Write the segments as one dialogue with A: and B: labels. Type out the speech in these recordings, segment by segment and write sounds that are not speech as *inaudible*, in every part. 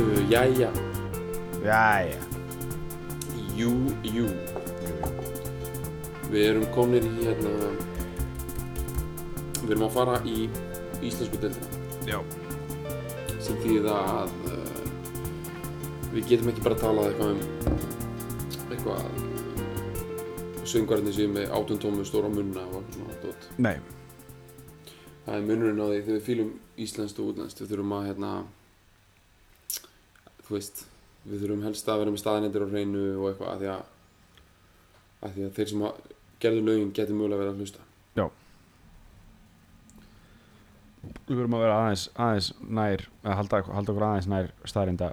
A: Uh, jæja,
B: Jæja,
A: jú, jú. Við erum komnir í hérna, við erum að fara í íslensku deildina
B: já,
A: sem þýðir það að uh, við getum ekki bara talað eitthvað um eitthvað söngvarnir sem er með átun tómu stóra munna og eitthvað svona dót.
B: nei,
A: Það er munurinn á því þegar við fýlum íslenskt og útlenskt, við þurfum að hérna, þú veist, við þurfum helst að vera með staðanendur á hreinu og eitthvað af því að, af því að þeir sem að gerðu lögin getur mögulega verið að hlusta.
B: já Við verum að vera aðeins, aðeins nær, að halda, halda okkur aðeins nær staðrinda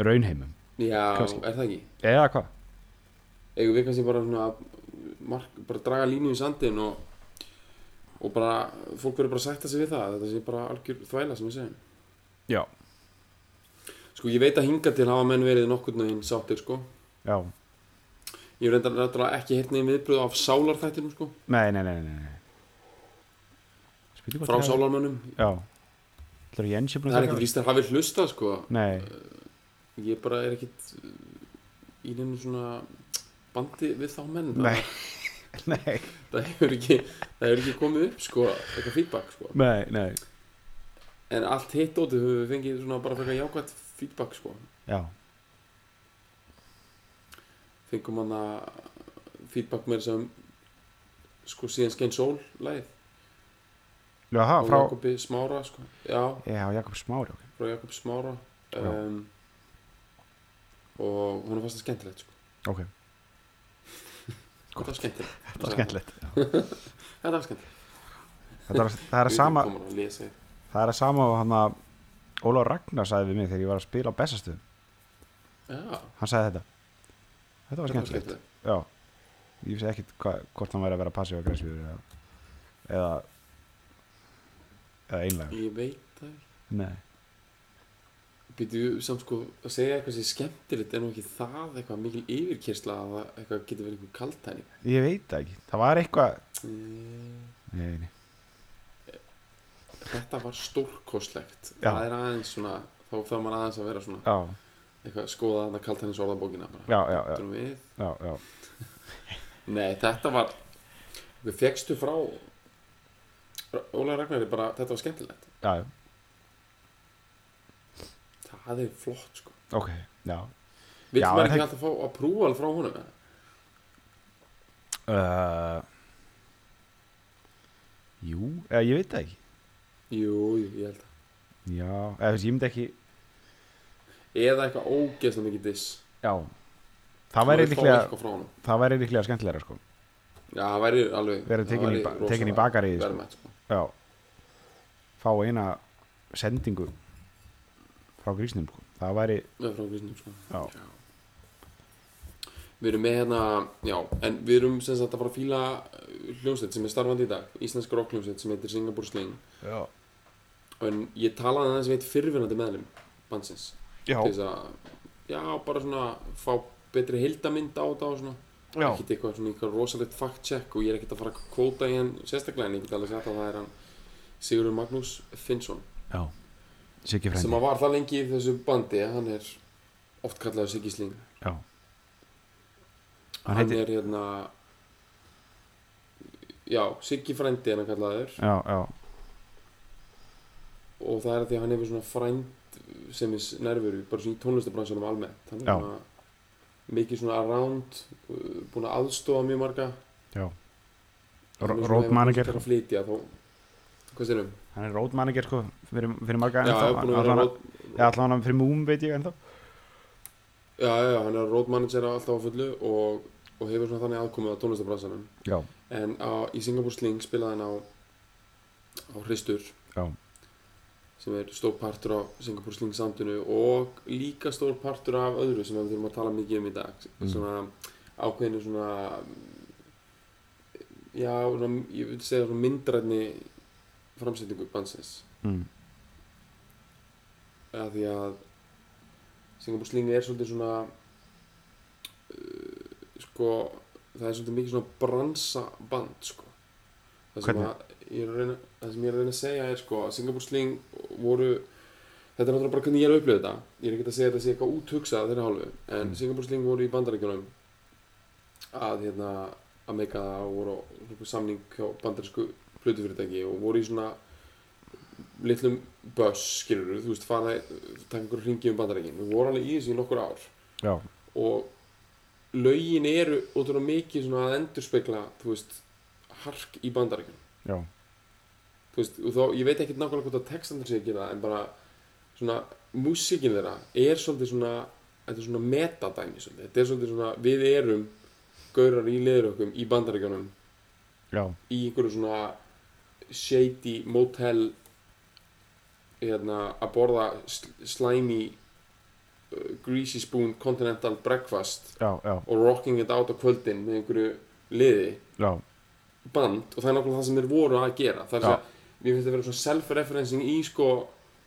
B: raunheimum
A: Já,
B: Kannski.
A: er það ekki?
B: Eða hvað?
A: Eigum við kannski bara svona að mark, bara draga línu í sandin og, og bara, fólk verður bara að sætta sig við það, þetta sé bara algjör þvæla sem við segjum.
B: Já,
A: Sko, ég veit að hinga til hafa menn verið nokkurnu hinn sáttir, sko.
B: já,
A: Ég hef reyndar náttúrulega ekki hitt nefn viðbröð af sálarþættinum, sko,
B: nei, nei, nei, nei, nei. Spýtu
A: frá sálarmönnum.
B: Já, ætlar að Jens er búin
A: Það
B: að
A: er ekkert víst að hafi hlustað sko
B: Nei,
A: Ég bara er ekkert uh, í nefnum svona bandi við þá menn
B: nei, *laughs* nei,
A: Það, það, hefur ekki, það hefur ekki komið upp sko eitthvað feedback sko
B: nei, nei
A: En allt hitt ótið höfum við fengið svona bara frekar jákvæmt feedback sko
B: Já,
A: Fengum hann feedback meira sem sko síðan skein sól lagið
B: Jaha,
A: frá
B: frá
A: Jakobi Smára sko Já,
B: Já, Jakob Smári, ok
A: frá Jakob Smára
B: Já.
A: um, Og hún er fast að skemmtilegt sko
B: Ok,
A: Þetta var skemmtilegt
B: það er skemmtilegt
A: Þetta var skemmtilegt
B: Þetta er- Það er að sama
A: Við komum að lesa
B: Það er að sama og hann að Ólaf Ragnar sagði við mig þegar ég var að spila á Bessastuðum.
A: Já,
B: Hann sagði þetta. Þetta var
A: þetta var
B: skemmtilegt. Já. Ég vissi ekkit hva, hvort hann væri að vera passív og græsvíður eða, eða, eða einlega.
A: Ég veit það ekki.
B: Nei.
A: Býtu samt sko að segja eitthvað sem er skemmtilegt en ekki það eitthvað mikil yfirkyrsla að það eitthvað getur verið einhver kaltæning.
B: Ég veit það ekki. Það var eitthvað...
A: Eh,
B: Nei, nei.
A: Þetta var stórkostlegt.
B: Já.
A: Það er aðeins svona, þá þarf maður aðeins að vera svona
B: Já,
A: eitthvað að skoða þarna kaltænins orðabókina bara.
B: já, já, já,
A: Þetta við.
B: já, já.
A: Nei, þetta var, við fegstu frá Ólega Ragnari bara, þetta var skemmtilegt.
B: Já, já.
A: Það er flott sko.
B: Ok, já.
A: Vill
B: Já,
A: maður
B: en
A: ekki
B: það-
A: alltaf fá approval frá honum? eða?
B: Uh, jú, eða ég veit það ekki.
A: Jú, jú, ég held að.
B: Já, eða þú veist, ég myndi ekki...
A: Eða eitthvað ógeðslega mikið diss.
B: Já. Það væri
A: Maður vill fá
B: líklega...
A: eitthvað frá honum.
B: það væri líklega skemmtilegra sko
A: Já, það væri alveg
B: Verið tekin í ba- tekin í bakaríið, sko.
A: Vermætt, sko
B: já fá eina sendingu frá grísnum sko það væri
A: Með frá grísnum, sko
B: já,
A: Við erum með hérna, já En við erum sem sagt að fara að fíla uh, hljómsveit sem er starfandi í dag Íslensk rockhljómsveit sem heitir Singapore Sling
B: já.
A: En ég talaði aðeins við eitt fyrirvinnandi meðlum Bansins
B: já.
A: Til þess að, já, bara svona Fá betri heildamynd á þetta og svona
B: Já.
A: Ekkert eitthvað svona eitthvað rosalegt fact check Og ég er ekkert að fara að kvóta í hann sérstaklega En ég get alveg sagt að það er hann Sigurður Magnús Finnsson
B: já. Siggi
A: sem
B: frændi
A: að var það lengi í þessu bandi hann er oft kallaður Siggi Sling
B: já.
A: hann,
B: Hann heitir-
A: er hérna já, Siggi frændi er hann kallaður
B: já, já,
A: og það er af því að hann hefur svona frænd sem er nervuru, bara svona í tónlistabransunum almennt hann er
B: Já.
A: svona mikið svona around uh, búin að aðstofa mjög marga
B: já.
A: Hann er svona
B: road
A: ef hann
B: manager
A: þarf að flytja þá hvað styrum?
B: hann er road manager sko fyrir, fyrir marga
A: Já, hann er búin að vera road,
B: já, allan hann fyrir múm veit ég ennþá
A: já, já, hann er road manager alltaf á fullu og, og hefur svona þannig aðkomið á tónlistabransunum
B: já,
A: En á, í Singapore Sling spilaði hann á, á Hristur
B: já,
A: sem er stór partur á Singapore Sling samtunnu og líka stór partur af öðru sem við þurfum að tala mikið um í dag
B: Mm.
A: svona ákveðinu svona já, svona, ég vil segja svona myndrætni framsetningu bandsins
B: mm.
A: að því að Singapore Sling er svolítið svona uh, sko það er svolítið mikið svona bransaband sko það sem,
B: Hvernig?
A: að, ég er að reyna, það sem ég er að reyna að segja er sko að Singapore Sling voru þetta er náttúrulega bara hvernig ég er að upplifa þetta ég er ekki að segja þetta sé eitthvað úthugsað af þeirra hálfu en
B: Mm.
A: Singapore Sling voru í bandaríkjunum að hérna að meika það og voru á einhverjum samning hjá bandarísku plötufyrirtæki og voru í svona litlum buss, skilur þú veist, fara taka einhver ringi um bandarækin við vorum alveg í þessu í nokkur ár
B: já,
A: og lögin eru ótrúlega mikið svona að endurspegla þú veist, hark í bandarækin
B: já,
A: þú veist, og þá, ég veit ekkert nákvæmlega hvort að textandur sé að gera það, en bara svona, músíkin þeirra er svolítið svona þetta er svona metadæmi svolítið, þetta er svolítið svona, við erum gaurar í leðurökkum í bandarækjunum
B: já,
A: í einhverju svona shady motel hérna, að borða sl- slimy uh, greasy spoon continental breakfast
B: já, já,
A: og rocking it out á kvöldin með einhverju liði
B: já,
A: band og það er nákvæmlega það sem þeir voru að gera það er
B: Já.
A: að mér finnst að vera svona self-referencing í sko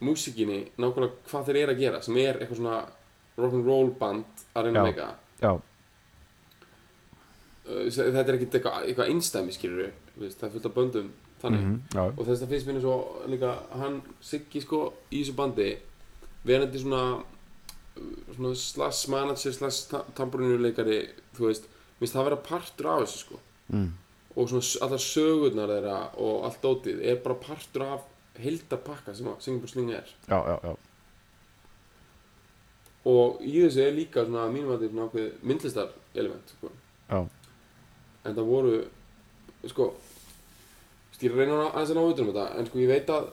A: músikinni nákvæmlega hvað þeir eru að gera sem er eitthvað svona rock'n'roll band að reyna
B: Já.
A: að meika
B: já,
A: þetta er ekkert eitthvað, eitthvað einstæmi skilur við það er fullt af böndum þannig
B: mhm, já,
A: og þess að finnst mér eins og líka hann Siggi sko í þessu bandi verandi svona uh, svona slags manager slags tamburinuleikari þú veist, mér finnst það vera partur af þessu sko
B: mm,
A: og svona s- allar sögurnar þeirra og allt dótið er bara partur af heildapakka sem að Singapore Sling er
B: já, já, já,
A: og í þessu er líka svona að mínum að þetta er svona ákveð myndlistar element sko.
B: já,
A: en það voru sko veist, ég reyna að- aðeins að ná út um þetta en sko ég veit að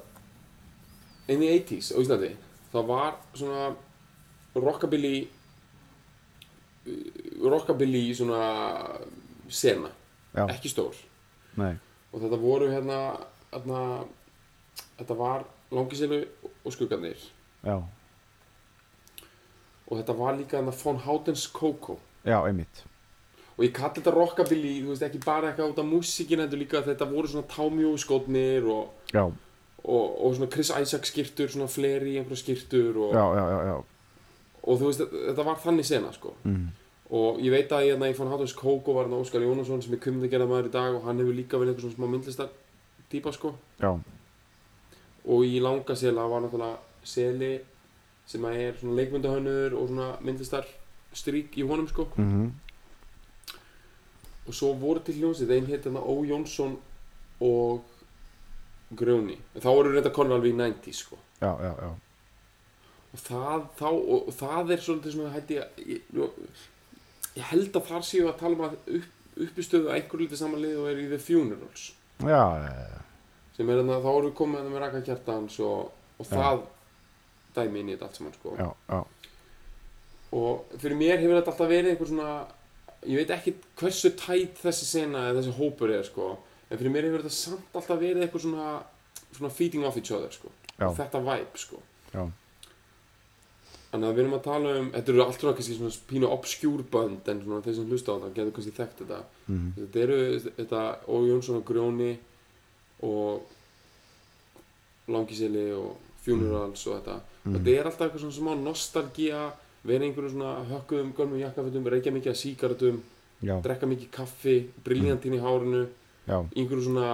A: in the 80s á Íslandi það var svona rockabilly uh, rockabilly svona sena,
B: já,
A: ekki stór
B: nei,
A: og þetta voru hérna, hérna þetta var langiselu og skuggarnir
B: já,
A: og þetta var líka hérna von Houtens Coco
B: já, einmitt,
A: og ég kalli þetta rockabilly, þú veist ekki bara eitthvað út af músíkin, heldur líka að þetta voru svona támjóskotnir og
B: já,
A: og, og svona Chris Isaac skýrtur, svona fleiri einhverja skýrtur og,
B: já, já, já, já,
A: og þú veist, þetta var þannig sena sko
B: mhm,
A: og ég veit að ég, hérna ég fann Háttúrs Kókó var hann Óskar Jónasson sem er kumdagerða maður í dag og hann hefur líka verið einhver svona smá myndlistar típa sko
B: já,
A: og í langa sela var náttúrulega seli sem að er svona leikmyndahönnur og svona myndlistar strík í honum sko
B: mhm,
A: og svo voru til hljómsið, þeim hétt hérna Ó Jónsson og Grjóni, En þá voru reynda konur alveg í 90 sko
B: já, já, já,
A: og það, þá, og, og það er svolítið svona hætti ég, ég, ég held að þar séu að tala um að upp, uppistöðu að einhver lítið samanlið og er í The Funerals
B: já, já, já,
A: sem er þannig að þá eru komið þarna með raka kjartans og, og
B: Já.
A: það dæmi inn í þetta allt saman sko
B: já, já,
A: og fyrir mér hefur þetta alltaf verið einhver svona ég veit ekki hversu tætt þessi sena eða þessi hópur er sko en fyrir mér hefur þetta samt alltaf verið eitthvað svona svona feeding off each other sko
B: já,
A: þetta vibe sko
B: já,
A: Þannig að við erum að tala um, þetta eru allt svona kannski svona pínu obskjúr bönd en svona þeir sem hlusta á það getur kannski þekkt þetta.
B: mhm,
A: Þetta eru þetta Ó Jónsson og Grjóni og Langiseli og Funerals og þetta.
B: Mhm.
A: Þetta er alltaf eitthvað svona smá nostalgía, vera í einhverju svona hökkuðum, gönnum jakkafutum, reykja mikið að síkartum,
B: já,
A: drekka mikið kaffi, briljantín í hárinu,
B: já,
A: í einhverju svona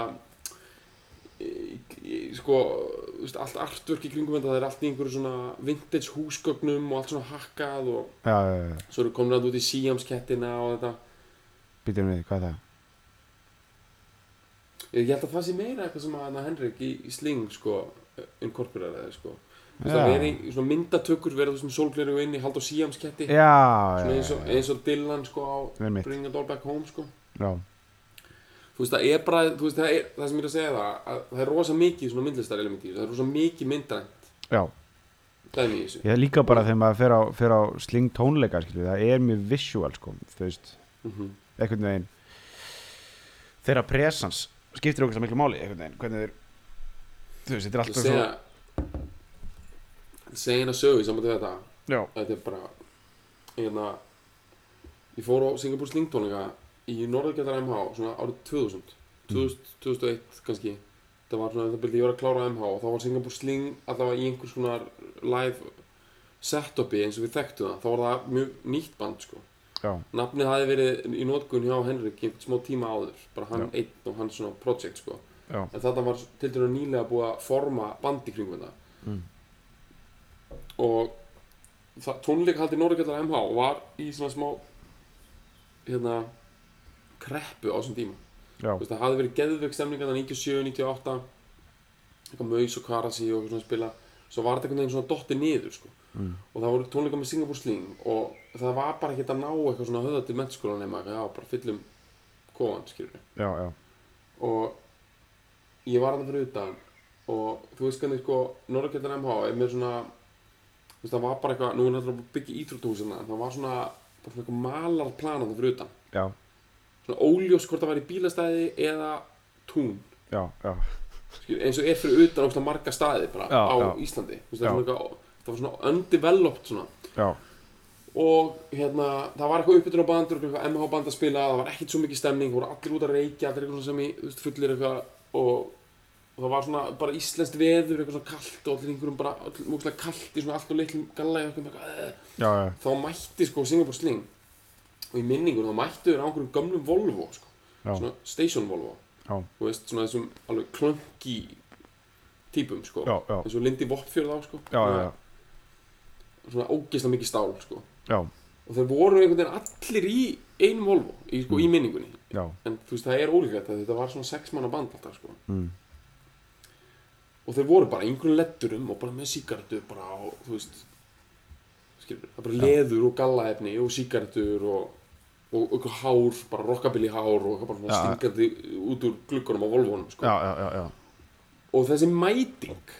A: í- í- sko, þú veist, allt artwork í kringum þetta, það er allt í einhverju svona vintage húsgögnum og allt svona hakkað og
B: já, já, já,
A: svo eru komin að út í síamskettina og þetta
B: býtum við, hvað er það,
A: ég held að það sé meira eitthvað sem að hana, Henrik í, í sling sko, inkorporeraði sko Þú veist,
B: Já.
A: það veri svona myndatökur verið þessum sólgleru inn í hald og síamsketti
B: já,
A: svona
B: já, já,
A: eins og,
B: já,
A: eins og Dylan sko á
B: Einmitt.
A: Bring a Doll Back Home sko
B: já,
A: þú veist það er bara, þú veist það er það sem ég er að segja það, að það er rosa mikið svona myndlistar elementi, það er rosa mikið myndrænt
B: já,
A: dæmi í þessu
B: Ég er líka bara þegar maður fer á, fer á sling tónleika, skilju, það er mjög visual, sko, þú veist,
A: Mhm.
B: einhvern veginn, þeirra presans skiptir okkur svo miklu máli, einhvern veginn, hvernig þeir, þú veist, þetta er
A: Ég
B: alltaf
A: segja
B: svo,
A: segja hérna sögu saman til þetta
B: já,
A: þetta er bara hérna ég fór á Singapore Sling
B: Mhm.
A: tónleika í Norðurgjallar MH svona árið 2000 2000, 2001 kannski þetta var svona, þetta byrði ég var að klára MH og þá var Singapore Sling allavega í einhvers konar live setupi eins og við þekktum það, þá var það mjög nýtt band sko.
B: já,
A: Nafnið hafi verið í notkun hjá Henrik í einhvern smá tíma áður, bara hann
B: Já.
A: einn og hann svona project sko.
B: já,
A: En þetta var til dæru nýlega búið að forma band í kringum þetta
B: Mm.
A: Og það, tónleikahaldi Norðurgjallar MH var í svona smá hérna kreppu á þessum tíma
B: já,
A: Þú veist, Það hafði verið geðveik stemning þarna 97, 98 eitthvað maus og karasi og svona spila svo var þetta einhvern veginn svona dotti niður sko.
B: Mm.
A: og það voru tónleika með Singapore Sling og það var bara ekkert að ná eitthvað svona höða til mennskóla nema, já, bara fyllum kofan, skilur
B: já, já,
A: og ég var hann fyrir utan og þú veist hvernig sko Norrkjöldan MH er með svona þú veist það var bara eitthvað, nú er náttúrulega búið að byggja íþróttahúsina en það var svona bara svona eitthvað malar plan hann fyrir utan
B: já,
A: svona óljós hvort það væri bílastæði eða tún
B: já, já,
A: Skil, eins og er fyrir utan óslega marga staði bara
B: Já,
A: á
B: já.
A: Íslandi þú veist það
B: Já.
A: var svona eitthvað, það var svona undeveloped svona
B: já,
A: og hérna, það var eitthvað uppbytun á bandur eitthvað MH band að spila, það var ekkert svo mikið stemning það voru allir út að reykja, allir eitthvað svona sem í þú veist, fullir eitthvað og og það var svona bara íslenskt veður, eitthvað svona kallt og allir einhverjum bara, allir múkslega kallt í svona allt og litlum galla eitthvað, eitthvað eh.
B: já, já,
A: þá mætti sko Singapore Sling og í minningur þá mættu þeir á einhverjum gömlum Volvo sko,
B: já,
A: svona station Volvo
B: já,
A: þú veist, svona þessum alveg klönki típum sko
B: já, já,
A: eins og Lindy Vopfjörð á sko
B: já, já, já,
A: svona ógeðslega mikið stál sko
B: já,
A: og þeir voru einhvern veginn allir í einum Volvo í,
B: Mm.
A: sko, í minningunni
B: já,
A: en þú veist það er ólíklegt að þetta var svona sex manna band alltaf sko
B: mm,
A: og þeir voru bara í einhverjum letturum og bara með síkartu bara og þú veist skilur, það er bara leður og gallaefni og síkartur og og eitthvað hár, bara rockabilly hár og eitthvað bara svona
B: Já.
A: stingandi út úr gluggunum á Volvonum sko
B: já, já, já, já,
A: og þessi mæting,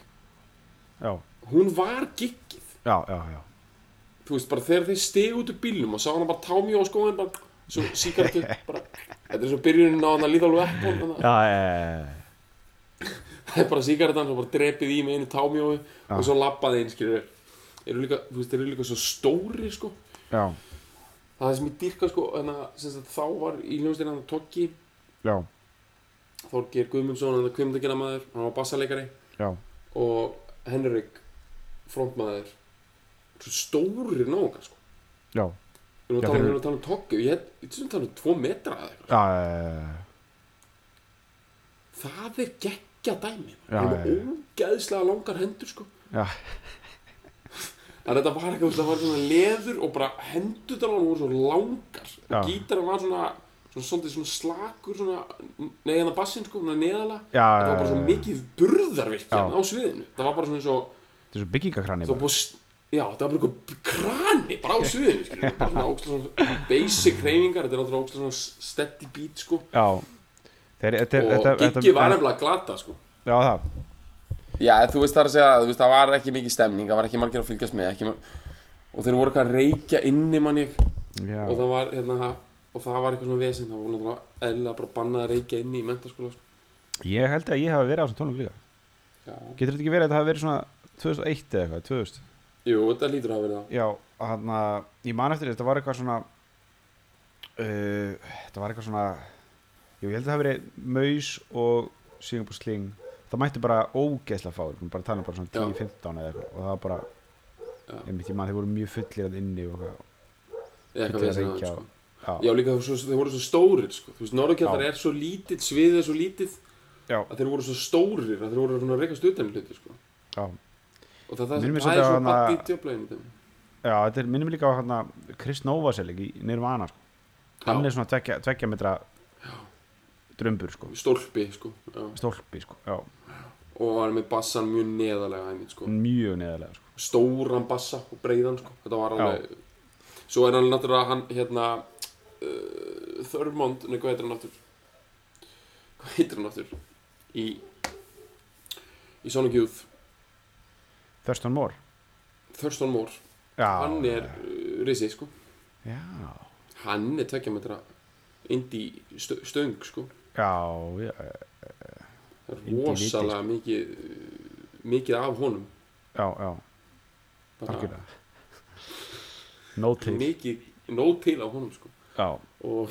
B: já,
A: hún var giggið
B: já, já, já,
A: þú veist, bara þegar þeir stegu út úr bílnum og sá hana bara támi á skóin bara, svo
B: *laughs*
A: síkartu, bara þetta er svo byrjunin á hana líða alveg ekki þannig að
B: já, já,
A: það er bara síkartan, svo bara drepið í með einu támi og svo labbaði einn, skilur eru líka, þú veist, þeir eru líka svo stóri, sko
B: já,
A: það er sem ég dýrka, sko, þannig að sem sagt, þá var í hljómsdegin hann Toggi
B: já,
A: Þorgeir Guðmundsson, hann er kvimdegina maður hann var bassaleikari
B: já,
A: og Henrik frontmaður svo stórir náungar, sko
B: já,
A: við erum
B: Já,
A: að tala um-
B: þeir
A: við
B: eru-
A: erum að tala um Toggi og ég held- ég held að tala um tvo metra eða eitthvað
B: já, já,
A: það er geggja dæmi
B: Já,
A: það
B: já,
A: er
B: já.
A: ógeðslega langar hendur sko
B: já,
A: en þetta var eitthvað, það var svona leður og bara hendur þar voru svo langar
B: Já.
A: og gítarinn var svona svona svolítið svona slakur svona, nei en að bassinn sko, svona neðala
B: Já,
A: það var bara svo
B: já, já, já.
A: mikið burðarvirkja
B: Já.
A: á sviðinu, það var bara svona eins og
B: þetta er svo byggingakranni
A: það var
B: bara,
A: búið, að s- já það var bara eitthvað krani bara á sviðinu, skilur, bara svona ógeðslega svona basic hreyfingar, þetta er náttúrulega ógeðslega svona steady beat sko
B: já, þeir, þetta,
A: og
B: þetta,
A: giggi var nefnilega glata sko
B: já, það,
A: Já, þú veist það er að segja, þú veist, það var ekki mikið stemning, það var ekki margir að fylgjast með, ekki mar... og þeir voru eitthvað að reykja inni manni og
B: já,
A: það var, hérna, og það var eitthvað svona vesinn, það voru náttúrulega eðlilega bara bannað að reykja inni í mentaskóla, sko.
B: ég held að ég hafi verið á þessum tónleikum líka,
A: Já.
B: getur þetta ekki verið að það hafi verið svona 2001 eða eitthvað, 2000,
A: Jú, þetta lítur að vera það.
B: Já, hann að ég man eftir því, þetta var eitthvað svona uh, þetta var eitthvað svona jú, ég held að það hafi verið maus og Singapore Sling það mætti bara ógeðslega fáir við erum bara að tala um bara svona
A: Já.
B: 10-15 eða eitthvað og það var bara
A: Já.
B: einmitt ég man þeir voru mjög fullir að inni og eitthvað
A: Eða
B: Þetta
A: eitthvað
B: er
A: vesinn að
B: reykja
A: það,
B: á-
A: sko.
B: já,
A: Já, líka þeir voru svo- þeir voru svo stórir, sko. Þú veist, Norðurkjallar
B: Já.
A: er svo lítill, sviðið er svo lítið,
B: já,
A: að þeir voru svo stórir, að þeir voru svona að reykast utan í hluti, sko.
B: já,
A: Og það, það,
B: Minnir mig
A: það
B: svolítið
A: er
B: á
A: svona
B: hana-
A: badd í djöflaðinu þeim.
B: já, þetta er minnum líka á hann að Chris Novasel ekki, Nirvana sko. hann er svona tvekja, tvekja metra drömbur sko,
A: Stólpi, sko. Já.
B: stólpi sko, já,
A: Og hann er með bassan mjög neðalega, einmitt, sko.
B: mjög neðarlega sko.
A: stóran bassa og breiðan sko. þetta var
B: Já.
A: alveg svo er hann náttúrulega hann hérna uh, Þörmond, nei hvað heitir hann náttúr hvað heitir hann náttúr í í Sonic Youth,
B: Thurston Moore
A: Thurston Moore
B: já,
A: hann er uh, risi sko
B: já
A: hann er tvekja metra indie stö stöng sko
B: Já, já,
A: það er
B: Indie sko. viti,
A: rosalega mikið uh, mikið af honum
B: já, já,
A: bara,
B: algjörlega No til
A: mikið, nóg til af honum sko
B: Já,
A: og,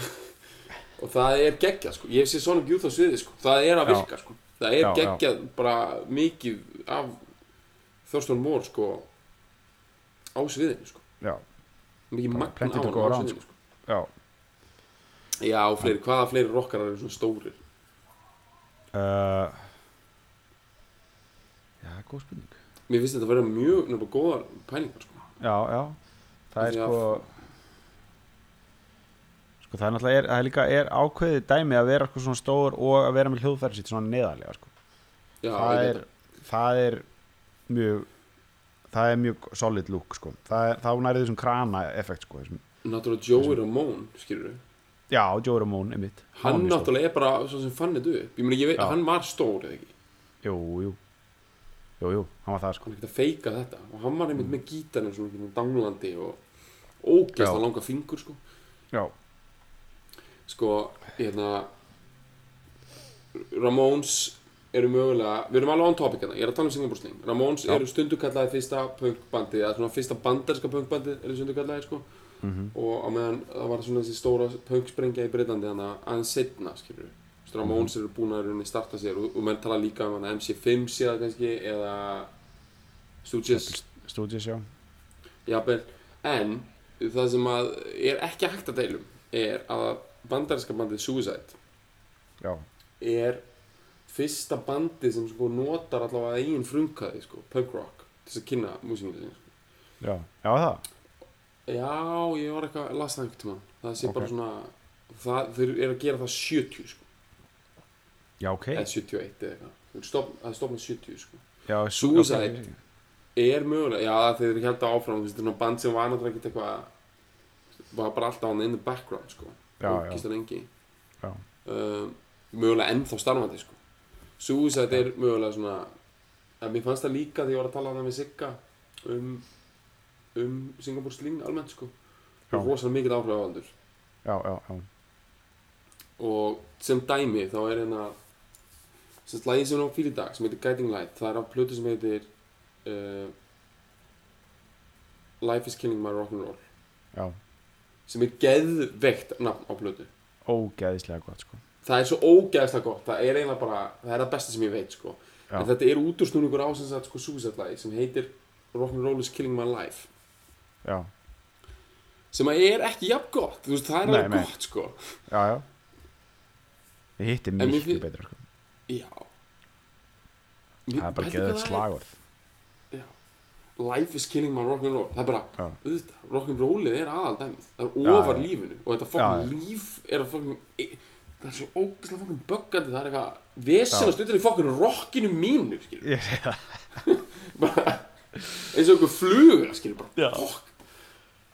A: og það er geggja sko. ég sé Sonic Youth á sviði sko. það er að
B: Já.
A: virka sko. það er
B: Já, já.
A: geggjað bara mikið af Thurston Moore sko á sviðinu sko
B: já,
A: mikið magn á
B: plenty to
A: hann á
B: go around,
A: sviðinu sko.
B: já
A: já, og fleiri, hvaða fleiri rockarar eru svona stórir
B: uh, Já, góð spurning
A: mér finnst þetta að vera mjög nefnilega góðar pælingar sko.
B: Já, já Það er
A: Því að-
B: sko Sko það er náttúrulega er, það er líka er ákveðið dæmi að vera sko svona stór og að vera með hljóðfæri sitt svona neðarlega sko.
A: já,
B: það,
A: ég
B: er,
A: veit
B: það er mjög það er mjög solid look sko. það er, þá nærið þessum krana effekt sko. þessum,
A: það. náttúrulega Joey Ramone, skilur við
B: já, Joe Ramone er mitt
A: hann náttúrulega er bara svo sem fann þetta upp ég meina, ég veit,
B: Já.
A: hann var stór eða ekki
B: jú, jú, jú, jú, hann var það sko.
A: hann er ekkert að feika þetta og hann var einmitt
B: Mm.
A: með gítarinn svona einhvern veginn danglandi og ógeðst
B: Já.
A: að langa fingur sko
B: já,
A: sko, hérna Ramones eru mögulega, við erum alveg on topic hérna, ég er að tala um Singaporesling Ramones
B: Já.
A: eru stundu kallaði fyrsta punkbandið, eða svona fyrsta banderska punkbandið eru stundu kallaði sko
B: Mhm.
A: og á meðan það var svona þessi stóra punksprengja í Breitlandi þannig að aðeins setna skilur við Ramones
B: Mhm.
A: eru búin að rauninni starta sér og, og menn tala líka um hana MC5 séða kannski eða Stooges
B: Stooges já
A: Jafnvel, en það sem að er ekki hægt að deilum er að bandarinska bandið Suicide
B: já,
A: er fyrsta bandið sem sko notar allavega eigin frumkæði sko, punk rock, til þess að kynna músíkinu sinni. sko.
B: já, já það
A: Já, ég var eitthvað, las það einhvern tímann, það sé
B: Ok.
A: bara svona, það, þeir eru að gera það 70 sko,
B: já, ok
A: eða 71 eða eitthvað, Þeir stofn- það er stofnað 70 sko.
B: já,
A: Suicide.
B: ok,
A: er mögulega, já þeir eru held að áfram þetta er svona band sem var náttúrulega ekkert eitthvað var bara alltaf hann in the background sko,
B: Já, já.
A: kistan engi
B: já,
A: um, mögulega ennþá starfandi sko. Suicide er mögulega svona að mér fannst það líka þegar ég var að tala hana með Sigga um, um Singapore Sling almennt sko
B: Já.
A: og rosalega mikið áhrifavaldur
B: já, já, já,
A: og sem dæmi þá er hérna sem slæði sem hún á fyrir dag sem heitir Guiding Light það er á plötu sem heitir uh, Life is Killing My Rock'n'Roll
B: já.
A: sem er geðveikt nafn á plötu
B: ógeðislega gott sko.
A: það er svo ógeðslega gott það er eiginlega bara, það er það besta sem ég veit sko.
B: Já.
A: en þetta er útúrsnúningur á sem sagt sko suicide-lagi sem heitir Rock'n'Roll is killing my life
B: já,
A: sem að er ekki jafn gott, þú veist, það er
B: Nei,
A: alveg
B: nei.
A: gott sko.
B: já, já ég hitti
A: mér
B: miklu
A: fi-
B: betra sko.
A: já
B: það er bara geðið slagorð
A: life is killing my rock'n'roll það er bara,
B: Já.
A: auðvitað, rock'n'rollið er aðal dæmið það
B: Já,
A: er ofar
B: já.
A: lífinu og þetta
B: Já, já.
A: fokkin líf er að fokkin það er svo ógeðslega fokkin böggandi það er eitthvað vesen að stundin í fokkin rockinu mínu skilur
B: Ég sé það.
A: *laughs* bara eins og einhver flugur skilur bara
B: Já.
A: fokk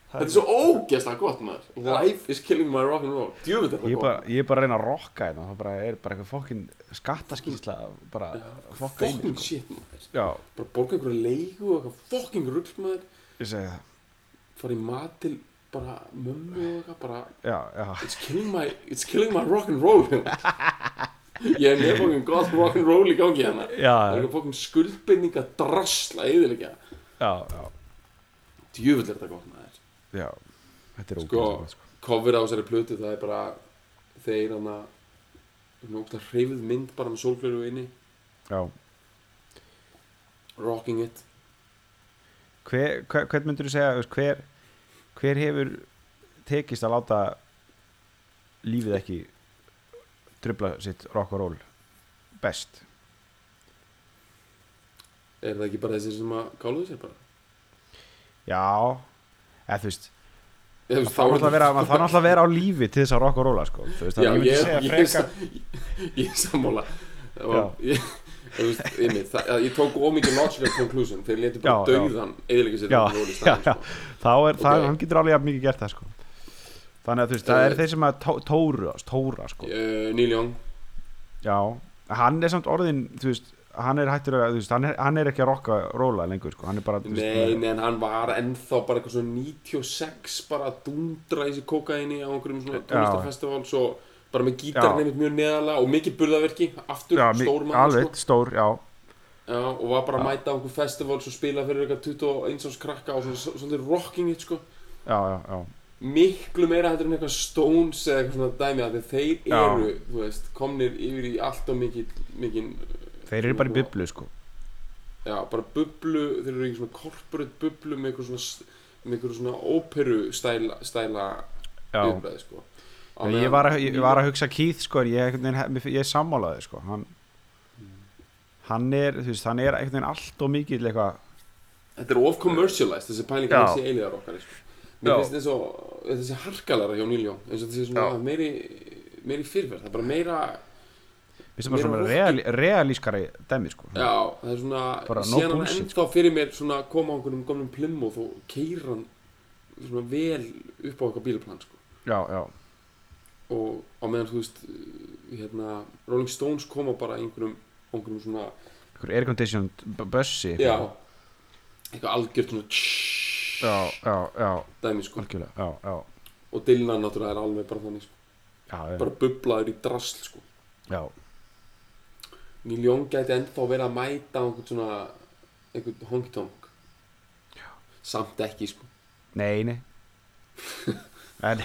A: þetta er svo ógeðslega gott maður life is killing my rock'n'roll djúvitt er
B: ég
A: það
B: er bara,
A: gott
B: ég er bara að reyna að rokka hérna það bara er bara eitthvað fokkin skattaskýrsla bara fokka í
A: fokkin
B: mig sko.
A: shit maður
B: já,
A: bara borga einhverju leigu og eitthvað fokkin rugl maður
B: ég segi það
A: fara í mat til bara mömmu og eitthvað bara
B: já, já,
A: it's killing my it's killing my rock'n'roll ég er með fokkin gott rock'n'roll í gangi hérna það
B: Já,
A: er
B: já.
A: eitthvað fokkin skuldbindninga drasla yfirleika
B: já, já,
A: djúvill er þetta gott maður
B: já. þetta er
A: sko,
B: ógeðislega gott, sko.
A: cover á þessari plötu það er bara þeir hann að nógla hreyfið mynd bara með sólflöru inni
B: já,
A: rocking it
B: hver, hver, hvern myndur þú segja þú veist, hver, hver hefur tekist að láta lífið ekki trubla sitt rock og roll best
A: er það ekki bara þessi sem að káluðu sér bara
B: já, eða þú veist
A: Ég,
B: það er náttúrulega að vera- maður þarf náttúrulega að vera á lífi til þess að rock og rolla sko. Þú veist,
A: já,
B: þannig að
A: ég,
B: ég myndi
A: ég,
B: segja
A: ég,
B: frekar
A: ég, *laughs* ég er sammála og ég, þú veist, ég, mitt, það, ég tók ómikið logical conclusion þeir leti bara
B: Já, já.
A: dauðan eðilega sér
B: já,
A: rock and roll í
B: já,
A: staðinn,
B: já.
A: sko.
B: þá er það,
A: Ok.
B: hann getur alveg jafn mikið gert það sko. þannig að þú veist, það er þeir sem að tó, tóru, tóra sko.
A: Eh, Neil Young
B: já, hann er samt orðin þú veist, hann er hættur að þú veist, hann, er, hann er ekki að rocka róla lengur sko. hann er bara, þú
A: Nei,
B: veist,
A: nei, en hann var ennþá bara eitthvað svona 96 bara að dundra í þessi kokaini á einhverjum svona tónlistarfestival svo bara með gítar
B: Já.
A: nefnt mjög neðalega og mikið burðaverki, aftur,
B: já, mi-
A: stór sko. maður
B: alveg, stór, já
A: sko Já, og var bara að mæta á einhver festival svo spila fyrir eitthvað 21 árs krakka og svona, svona rocking it sko
B: já, já, já,
A: miklu meira heldur en eitthvað Stones eða eitthvað svona dæmi að þeir
B: Já.
A: eru, þú veist, komnir yfir í allt og mikið, mikið
B: Þeir eru bara í bublu sko
A: já, bara bublu, þeir eru í svona corporate bublu með eitthvað svona með eitthvað svona óperu stæla, stæla
B: Já,
A: viðbræði, sko Á
B: ég
A: meðan-
B: var, að, ég var að hugsa Keith sko en Ég, einhvern veginn- mér- ég sammálaði sko hann, hann er, þú veist, hann er einhvern veginn allt og mikið eitthvað
A: Þetta er of commercialized, þessi pælingar
B: Já.
A: þessi eiliðar okkar sko.
B: Já.
A: Mér finnst eins og þessi harkalara hjá Níljó eins og þessi svona
B: Já.
A: meiri, meiri fyrirverð það er bara meira,
B: Við sem bara
A: Mér
B: svona
A: var
B: reali, realískari dæmi sko
A: já, það er svona
B: Bara
A: ég
B: no
A: sé hann
B: bullshit, sko.
A: ennþá fyrir mér svona koma á einhvernum gömlum plimmóð og keira hann svona vel upp á eitthvað bílplan sko.
B: já, já,
A: og á meðan þú veist hérna, Rolling Stones koma bara í einhverjum, einhverjum svona
B: einhver air conditioned bu- bussi
A: já, eitthvað algjört svona tss,
B: já, já, já,
A: dæmi sko
B: algjörlega Já, já,
A: og Dylan náttúrulega er alveg bara þannig sko.
B: já, já,
A: bara bublaður í drasl sko
B: já.
A: Neil Young gæti ennþá verið að mæta á einhvern svona einhvern honk-tonk samt ekki sko
B: Nei,
A: *laughs*
B: nei En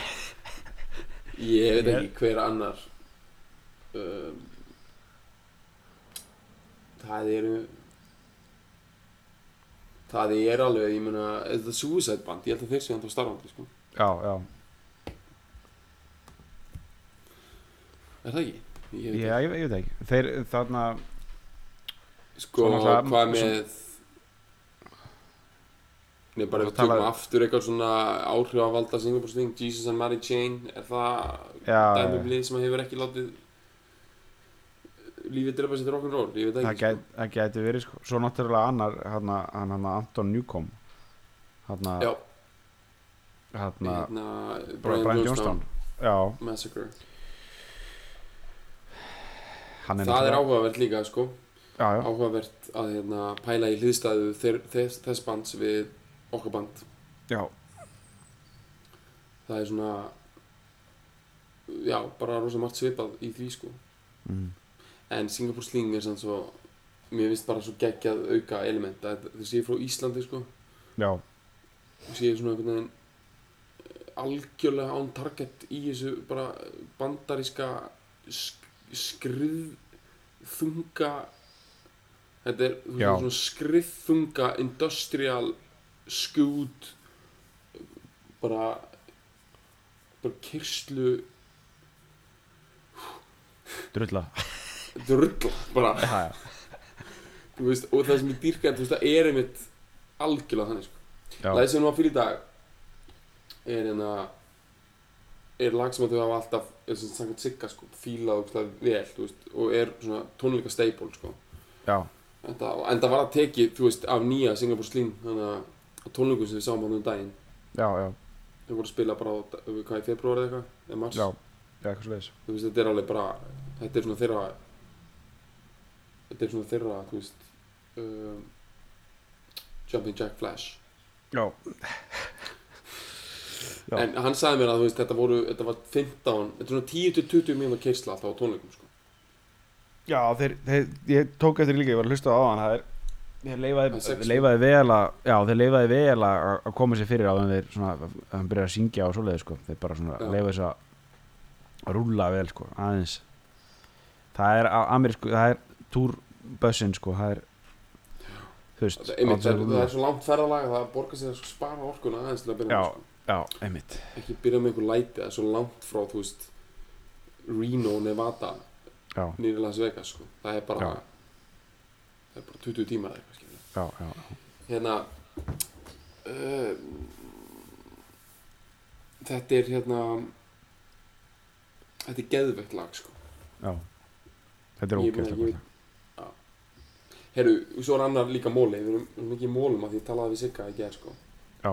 A: ég veit
B: Ég-
A: ekki hver annar um, það eru það er alveg ég meina, þetta Suicide Band ég held að þeir séu ennþá starfandi sko
B: Já, já,
A: er það ekki? Ég veit
B: já, ég, ég veit ekki Þeir þarna,
A: ekki sko
B: Svona það-
A: hvað með Nei, bara
B: Það
A: ef við tökum
B: talaði-
A: aftur eitthvað svona áhrifavalda Singapore-sting, Jesus and Mary Jane, er það
B: Ah, já,
A: dæmi um lið sem hefur ekki látið lífið drepa sér til rock'n'roll ég veit það
B: það,
A: ekki
B: gæt, það gæti verið sko. Svo náttúrulega annar, hann hann Anton Newcomb hann
A: sko. já,
B: hann
A: hérna
B: Brian, Brian Johnstown Já,
A: Massacre
B: hann er
A: það er
B: náttúrulega-
A: áhugavert líka sko
B: Já, já,
A: áhugavert að hérna, pæla í hliðstæðu þeir- þess, þess bands við okkar band
B: já,
A: það er svona já, bara rosa margt svipað í því sko
B: mm.
A: en Singapore Sling er sann svo mér finnst bara svo geggjað auka element að þau séu frá Íslandi sko
B: já,
A: sé svona einhvern veginn eh, algjörlega án target í þessu bara bandaríska sk skrið þunga þetta er þú veist, þetta
B: Já.
A: er svona skriðþunga industrial skjút bara bara kyrslu
B: drulla
A: drull bara
B: Já, *laughs* já,
A: þú veist, og það sem er dýrkænt þú veist það er einmitt algjörlega þannig sko
B: já,
A: Lagið sem var fyrir í dag er hérna er lag sem að þau hafa alltaf er sem sannkvæmt sigga sko, fílað og vel þú veist, og er svona tónleika staple sko.
B: já,
A: en það, en það var að teki þú veist, af nýja Singapore Sling þannig að tónleikum sem við sáum hann um daginn
B: já, já,
A: þau voru að spila bara á, hvað í februar eða eitthvað eða mars,
B: já, já, eitthvað sliðis
A: þú veist, þetta er alveg bara þetta er svona þeirra þetta er svona þeirra, þú veist um, Jumping Jack Flash
B: Já, Já.
A: En hann sagði mér að þú veist, þetta voru, þetta var 15, þetta er svona 10-20 mínútur keisla alltaf á tónleikum sko.
B: já þeir, þeir, ég tók eftir líka, ég var að hlusta á hann Það er, þeir
A: Það er
B: leifaði,
A: sex-
B: leifaði vel að Já, þeir leifaði vel að að koma sér fyrir á þeim þeir svona, að hann byrja að syngja og svoleiði sko Þeir bara svona
A: Já.
B: leifaði þess að að rúlla vel sko, aðeins Það er á- amerísku, það er túrbössin sko, það er Þú veist,
A: Það, einmitt, það,
B: á þess
A: er,
B: að
A: það
B: rúlla.
A: er svo langt ferðalag að það borgar sér að spara orkuna aðeins til að byrja
B: Já.
A: með,
B: já, einmitt
A: sko. ekki byrja með einhver læti, það er svo langt frá, þú veist, Reno, Nevada,
B: Já,
A: nýri Las Vegas, sko. það er bara,
B: Já.
A: það er bara 20 tíma eða eitthvað, skilja.
B: já, já, já,
A: Hérna, uh, þetta er hérna, þetta er geðveikt lag, sko.
B: já. Þetta er
A: Ég
B: sko.
A: meina,
B: ógeðslega
A: ég-
B: gott lag.
A: Herru, svo er annar líka móli, við erum, við erum ekki í mólum að því ég talaði við Sigga í gerð sko.
B: Já,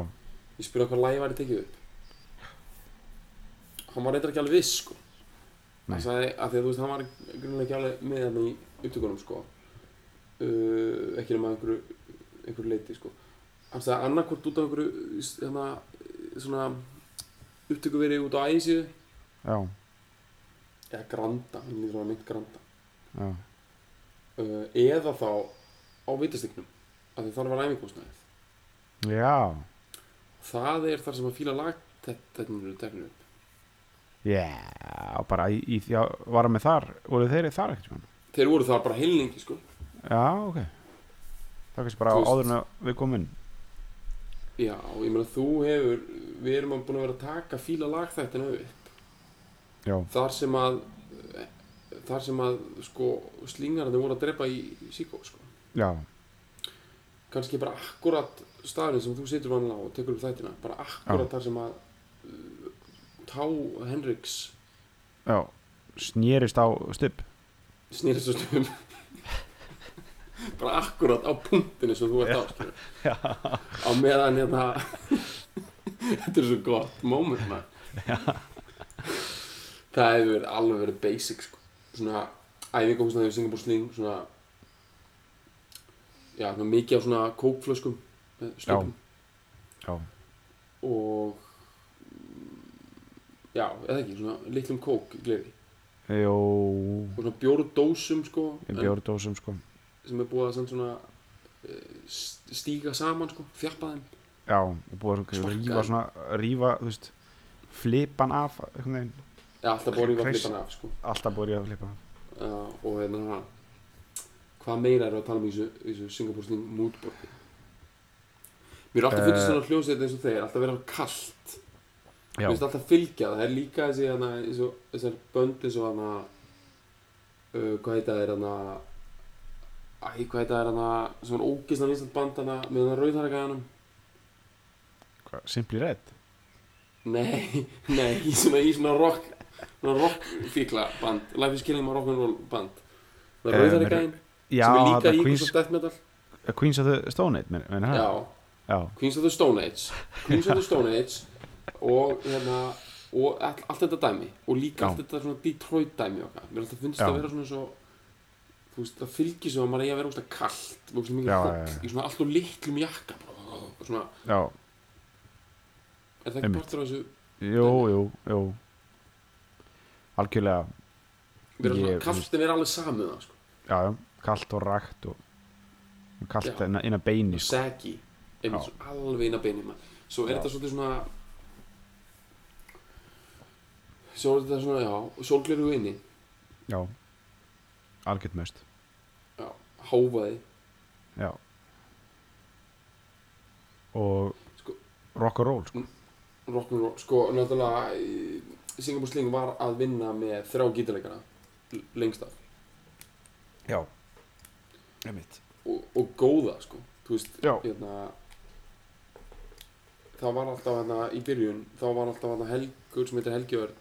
A: Ég spurði hann hvað lægi væri tekið upp. Hann var reyndar ekki alveg viss sko.
B: Nei.
A: Hann sagði að því að þú veist, hann var grunlega ekki alveg með hann í upptökunum sko. Uh, ekki nema að einhverju, einhverju leiti sko. Hann sagði annarkvort út af einhverju, s- hérna, svona, upptöku verið út á ægisíðu.
B: já,
A: Eða granda, hann lítur á mitt granda.
B: já,
A: Uh, eða þá á vitastiknum, af því þar var æfingúsnaðið.
B: já,
A: það er þar sem að fíla lag þetta þetta eru teknir upp
B: Já, bara í, í því að varum við þar, voru þeir þar ekkert svona?
A: þeir voru þar bara heilningi sko
B: Já, ok. Það er kannski bara
A: Þú veist-
B: áður en að við komum inn.
A: já, og ég meina þú hefur við erum að búin að vera að taka fíla lagþættina upp
B: Já,
A: þar sem að þar sem að sko slingarnir voru að drepa í síkó sko
B: já,
A: kannski bara akkurat staðurinn sem þú situr vanlega á og tekur upp þættina bara akkurat þar sem að uh, Tá Henriks
B: já. Snýrist á stup.
A: snýrist á stöðum bara akkurat á punktinu sem þú ert á skilur.
B: Já.
A: á meðan hérna þetta er svo gott moment man. það hefur verið alveg verið basic sko. svona æfing okkur svona þegar Singapore Sling svona já, svona mikið af svona kókflöskum með stöpum
B: Já,
A: og já, eða ekki, svona litlum kók gleði
B: jó,
A: og svona bjórdósum sko
B: í
A: en
B: bjórdósum sko.
A: sem er búið að samt svona eh, st- stíga saman sko, þjappa þeim
B: Já, og búið að svona
A: Smakkaði.
B: rífa svona, rífa, þú veist, flipan af, einhvern veginn.
A: Já, alltaf búið að rífa
B: Kreist.
A: flipan af sko
B: Alltaf búið að rífa flipan af.
A: uh, og hérna hvað meira eru að tala um í þessu, í þessu Singapore Sling moodboardi mér er alltaf
B: Eh.
A: fundist svona hljómsveit eins og þeir alltaf vera kallt, mér finnst
B: Já,
A: alltaf fylgja það er líka þessi, hana, eins og, þessar bönd eins og hana uh, hvað heita þeir hana æ, hvað heita þeir hana sem var ógisna vinsalt band hana með hana rauðharakaðanum
B: Hvað, simply red.
A: nei, *laughs* nei, í svona, í svona rock svona rock fíkla band Life is killing my rock'n'roll band það er
B: Eh, með-
A: rauðharakaðin
B: Já,
A: sem er líka
B: þetta
A: í Queens
B: Queens, Ah.
A: of Death Metal
B: Queens of the Stone Age, menn það?
A: já,
B: Já,
A: Queens of the Stone Age Queens of the Stone Age og hérna og all, allt þetta dæmi og líka
B: Já.
A: allt þetta svona Detroit dæmi okkar mér er alltaf fundist
B: Já.
A: að vera svona svo þú veist, það fylgir svo að maður eigi að vera úrst að kallt og svona
B: Já,
A: mikið
B: já, já.
A: fólk í svona allt og litlum jakka bara, og svona,
B: já,
A: er það ekki
B: Einmitt.
A: partur af þessu
B: jú, jú, jú. Algjörlega,
A: vera svona
B: Ég-
A: kallt en vera alveg samið það sko.
B: já, já, kallt og rakt og og kallt
A: Já.
B: innan innan beini
A: og saggy, einmitt
B: Já.
A: svona alveg inn að beinu mann svo er
B: Já.
A: þetta svolítið svona svo er þetta svona, já, sólgleru inni
B: Já, algjört mest
A: já, háfaði
B: Já Og
A: Sko-
B: rock and roll sko.
A: rock'n'roll, sko, náttúrulega eh, Singapore Sling var að vinna með þrjá gítarleikana l- lengst af
B: Já Einmitt
A: og, og góða, sko, þú veist
B: Já.
A: hérna það var alltaf hérna í byrjun þá var alltaf hérna Helgur sem heitir Helgi Örn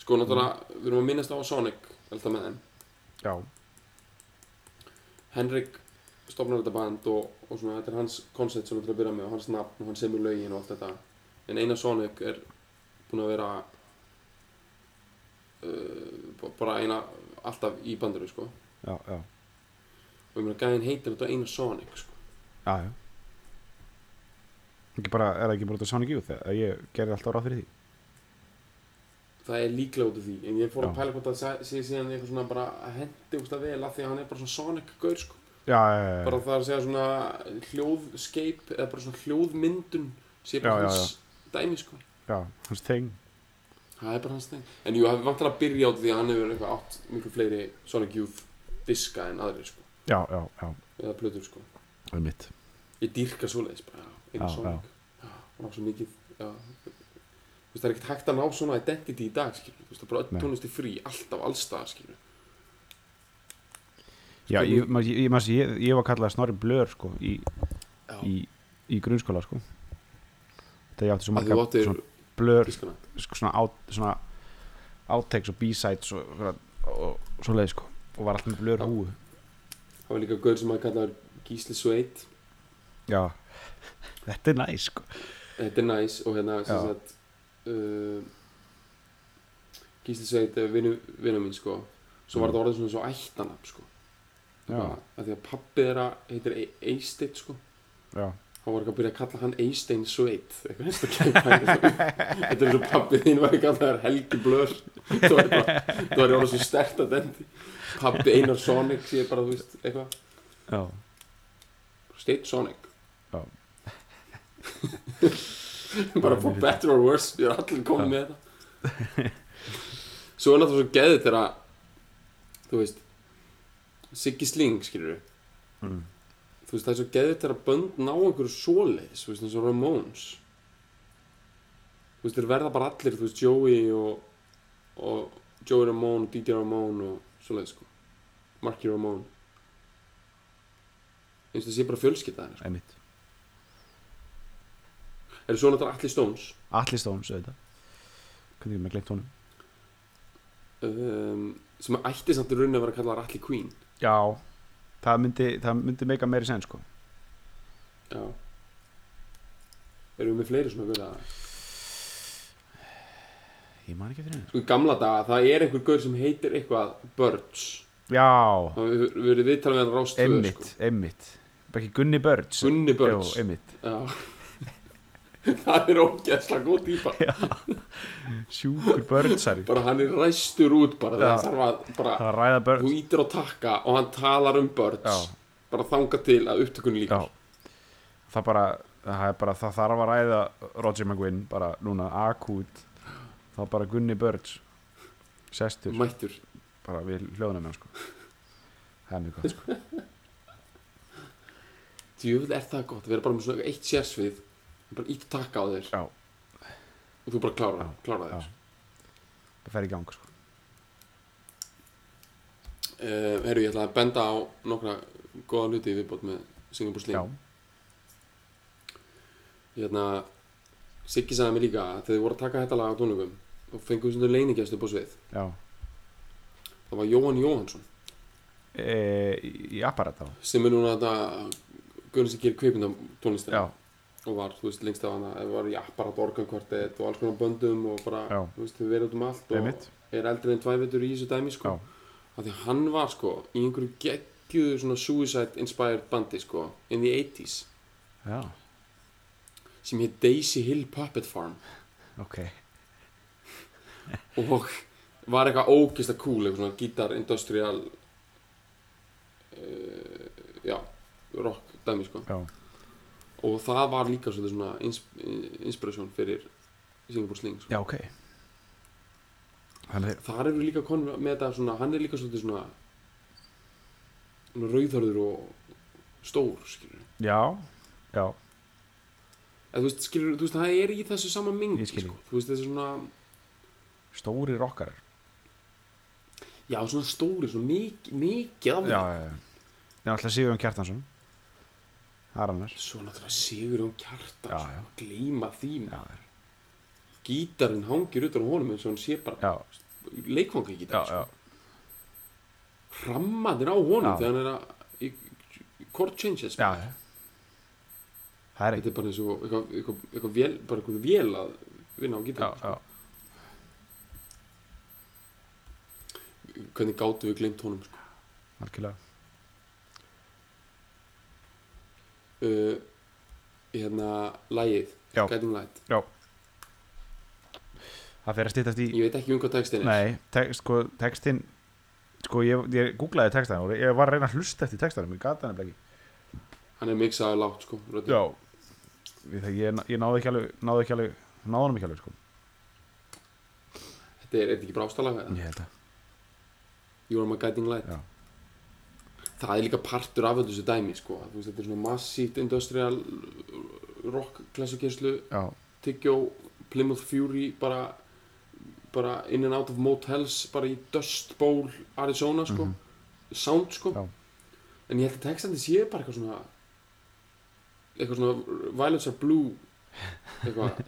A: sko, náttúrulega, við erum að minnast á Sonic alltaf með þeim,
B: Já,
A: Henrik stofnar þetta band og, og svona þetta er hans koncept sem við til að byrja með og hans nafn og hann semur lögin og allt þetta en Einar Sonic er búinn að vera uh, b- bara eina alltaf í bandinu sko og
B: já, já
A: ég meina gæðin heitir þetta Einar Sonic sko
B: Já, já Ekki bara, er það ekki bara út að Sonic Youth eða ég gerði alltaf ráð fyrir því
A: það er líklega út af því en ég fór
B: Já.
A: að pæla hvort það sé- sé síðan eitthvað svona bara að hendi úst að vel að því að hann er bara svona Sonic gaur sko
B: Já, já, já, já,
A: bara það er að segja svona hljóðskeip eða bara svona hljóðmyndun sé
B: Já, já,
A: bara hans dæmi sko
B: já, hans þeng
A: Það er bara hans þeng. En jú, það vantar að byrja á því að hann hefur eitthvað átt miklu fleiri Sonic Youth diska en aðrir, sko.
B: Já, já, já,
A: Eða plötur, sko.
B: einmitt
A: Ég dýrka svoleiðis bara, já, einu
B: Já,
A: Sonic. Já, hann á svo mikið, já. Þú veist, það er ekkert hægt að ná svona identity í dag, skilur. Þú veist, það er bara
B: Nei.
A: öll tónlist í frí, alltaf, allstað, skilur.
B: Já,
A: Sko,
B: ég, maður- ég, maður- ég, ég var kallað Snorri Blör sko, í,
A: Já.
B: í, í grunnskóla sko. Þegar ég átti svo
A: Að þú
B: marga
A: áttir
B: svona blör
A: diskana.
B: sko, svona, át, svona outtakes og b-sides og, og, og svo leið sko og var alltaf með blöður
A: Já.
B: húu
A: Það var líka gaur sem að kalla þær Gísli Sveit.
B: já, *laughs* þetta er næs sko
A: Þetta er næs og hérna, sem
B: Já.
A: sagt, uh, Gísli Sveit er vinnu vinnu mín, sko. Svo var
B: Mm.
A: þetta orðið svona svo ættanab, sko.
B: já,
A: að því að pappi þeirra heitir E- Eysteinn sko
B: já,
A: hann var ekki að byrja að kalla hann Eysteinn *laughs* Sveit eitthvað eins og kemur þetta er svo pappi þín var ekki að það er Helgi Blör það var bara, það var orðið svo stert að endi pappi Einar Sonic sé bara þú veist eitthvað
B: já,
A: Steinn Sonic
B: Já.
A: *laughs* bara
B: Bara
A: for
B: mér finnst-
A: better or worse við erum allir komið
B: Já.
A: með þetta svo er náttúrulega svo geðið þegar að þú veist Siggi Sling skilur
B: Mm.
A: þú veist það er svo geðið þegar að bönd ná einhverju svoleiðis þú veist eins og Ramones þú veist þeir verða bara allir þú veist Joey og, og Joey Ramone og DJ Ramone og svoleiðis sko Marky Ramone eins og það sé bara fjölskylda þeirra,
B: einmitt
A: sko. er svo náttúrulega allir Stones
B: Atli Stones auðvitað hvernig er maður glemt honum
A: um, sem ætti samt í rauninni að vera að kalla Rally Queen
B: já, það myndi, það myndi meika meiri sen sko
A: já erum við með fleiri svona gauða
B: ég man ekki eftir henni
A: sko í gamla daga það er einhver gaur sem heitir eitthvað Birds
B: já,
A: það hefur verið viðtalið með hann rást
B: einmitt,
A: sko.
B: einmitt bara ekki Gunni Birds
A: Gunni Birds
B: Jú, einmitt
A: já *laughs* það er ógeðslega góð típa
B: sjúkur Birdsari
A: bara hann er ræstur út bara
B: Já.
A: það þarf að
B: það
A: bara
B: var ræða
A: þú
B: Birds
A: ítir á takka og hann talar um Birds
B: Já.
A: bara þanga til að upptökunni líka
B: já það bara, það er bara, það þarf að ræða Roger McGuinn, bara núna akút það er bara Gunni Birds sestur,
A: mættur
B: bara við hljóðunum hann sko það er mjög gott sko
A: djöfull er það gott að vera bara með svona eitt sérsvið bara ít takka á þér
B: já,
A: og þú bara klára,
B: Já,
A: klára
B: já.
A: þér
B: það fer í gang sko
A: uh, Herru, ég ætla að benda á nokkra góða hluti viðbót með Singapore
B: já,
A: Sling hérna, Siggi sagði mér líka að þegar þið voru að taka þetta lag á tónleikum þá fengum við svona leiningjast upp á svið
B: já
A: það var Jóhann Jóhannsson
B: e, í- í apparat þá
A: sem er núna þetta Gunnars ekki er kveipin á tónlistina
B: já,
A: og var, þú veist, lengst af hana eða var í apparat organkvartett og alls konar böndum og bara,
B: Já.
A: þú veist, við verðum út um allt og
B: Einmitt.
A: er eldri en tvævetur í þessu dæmi
B: já,
A: sko. að því hann var sko í einhverju geggjuðu svona suicide inspired bandi sko in the 80s
B: já
A: sem heit Daisy Hill Puppet Farm
B: ok,
A: og var eitthvað ógeðslega cool eitthvað svona gítar industrial uh, já rock dæmi sko
B: já,
A: og það var líka svolítið svona ins inspiration fyrir Singapore Sling sko.
B: já ok þannig,
A: þar eru líka konur með þetta svona hann er líka svolítið svona, svona rauðhörður og stór skilur
B: já, já
A: Eða, þú veist, skilur, þú veist, það er í þessu sama mingi,
B: Ég skil.
A: sko. Þú veist, þessi svona,
B: stóri rockar
A: já, svona stóri, svona mikið, mikið af
B: já, já, já já, alltaf Sigurjón Kjartansson það er annar
A: Svo náttúrulega sigur hún kjarta,
B: Já,
A: sko,
B: já.
A: gleyma þín.
B: já,
A: Gítarinn hangir utan á honum eins og hann sé bara
B: já,
A: leikvanga
B: já,
A: gítar,
B: já,
A: sko. Rammadir á honum
B: Já.
A: þegar hann er að, í, í chord changes.
B: já já. það er
A: Þetta
B: ekki
A: er bara eins og eitthvað, eitthvað, eitthvað vél, bara eitthvað vél að vinna á
B: já,
A: gítar.
B: já,
A: Sko. Hvernig gátu við gleymt honum, sko.
B: algjörlega
A: Uh, hérna, lægið,
B: Já.
A: Guiding Light.
B: já það fer að stýttast í
A: Ég veit ekki um hvað textin er.
B: Nei, tek, sko, textin sko, ég, ég googlaði textan og ég var að reyna að hlusta eftir textanum, ég gata hann ekki
A: Hann er mixaður lágt, sko, röddin.
B: Já Við það, ég, ég náði ekki alveg, náði ekki alveg náði hann ekki alveg, sko
A: Þetta er, er þetta ekki brástalega eða?
B: Ég held að
A: You are my guiding light
B: Já.
A: Það er líka partur af þessu dæmi sko. Þú veist, Þetta er svona massíft industrial rock klassikerslu
B: Já,
A: tyggjó, Plymouth Fury bara, bara in and out of motels bara í Dust Bowl Arizona sko. sound sko.
B: Mhm. Já.
A: en ég held að textandi sé bara eitthvað svona eitthvað svona Violets are Blue eitthvað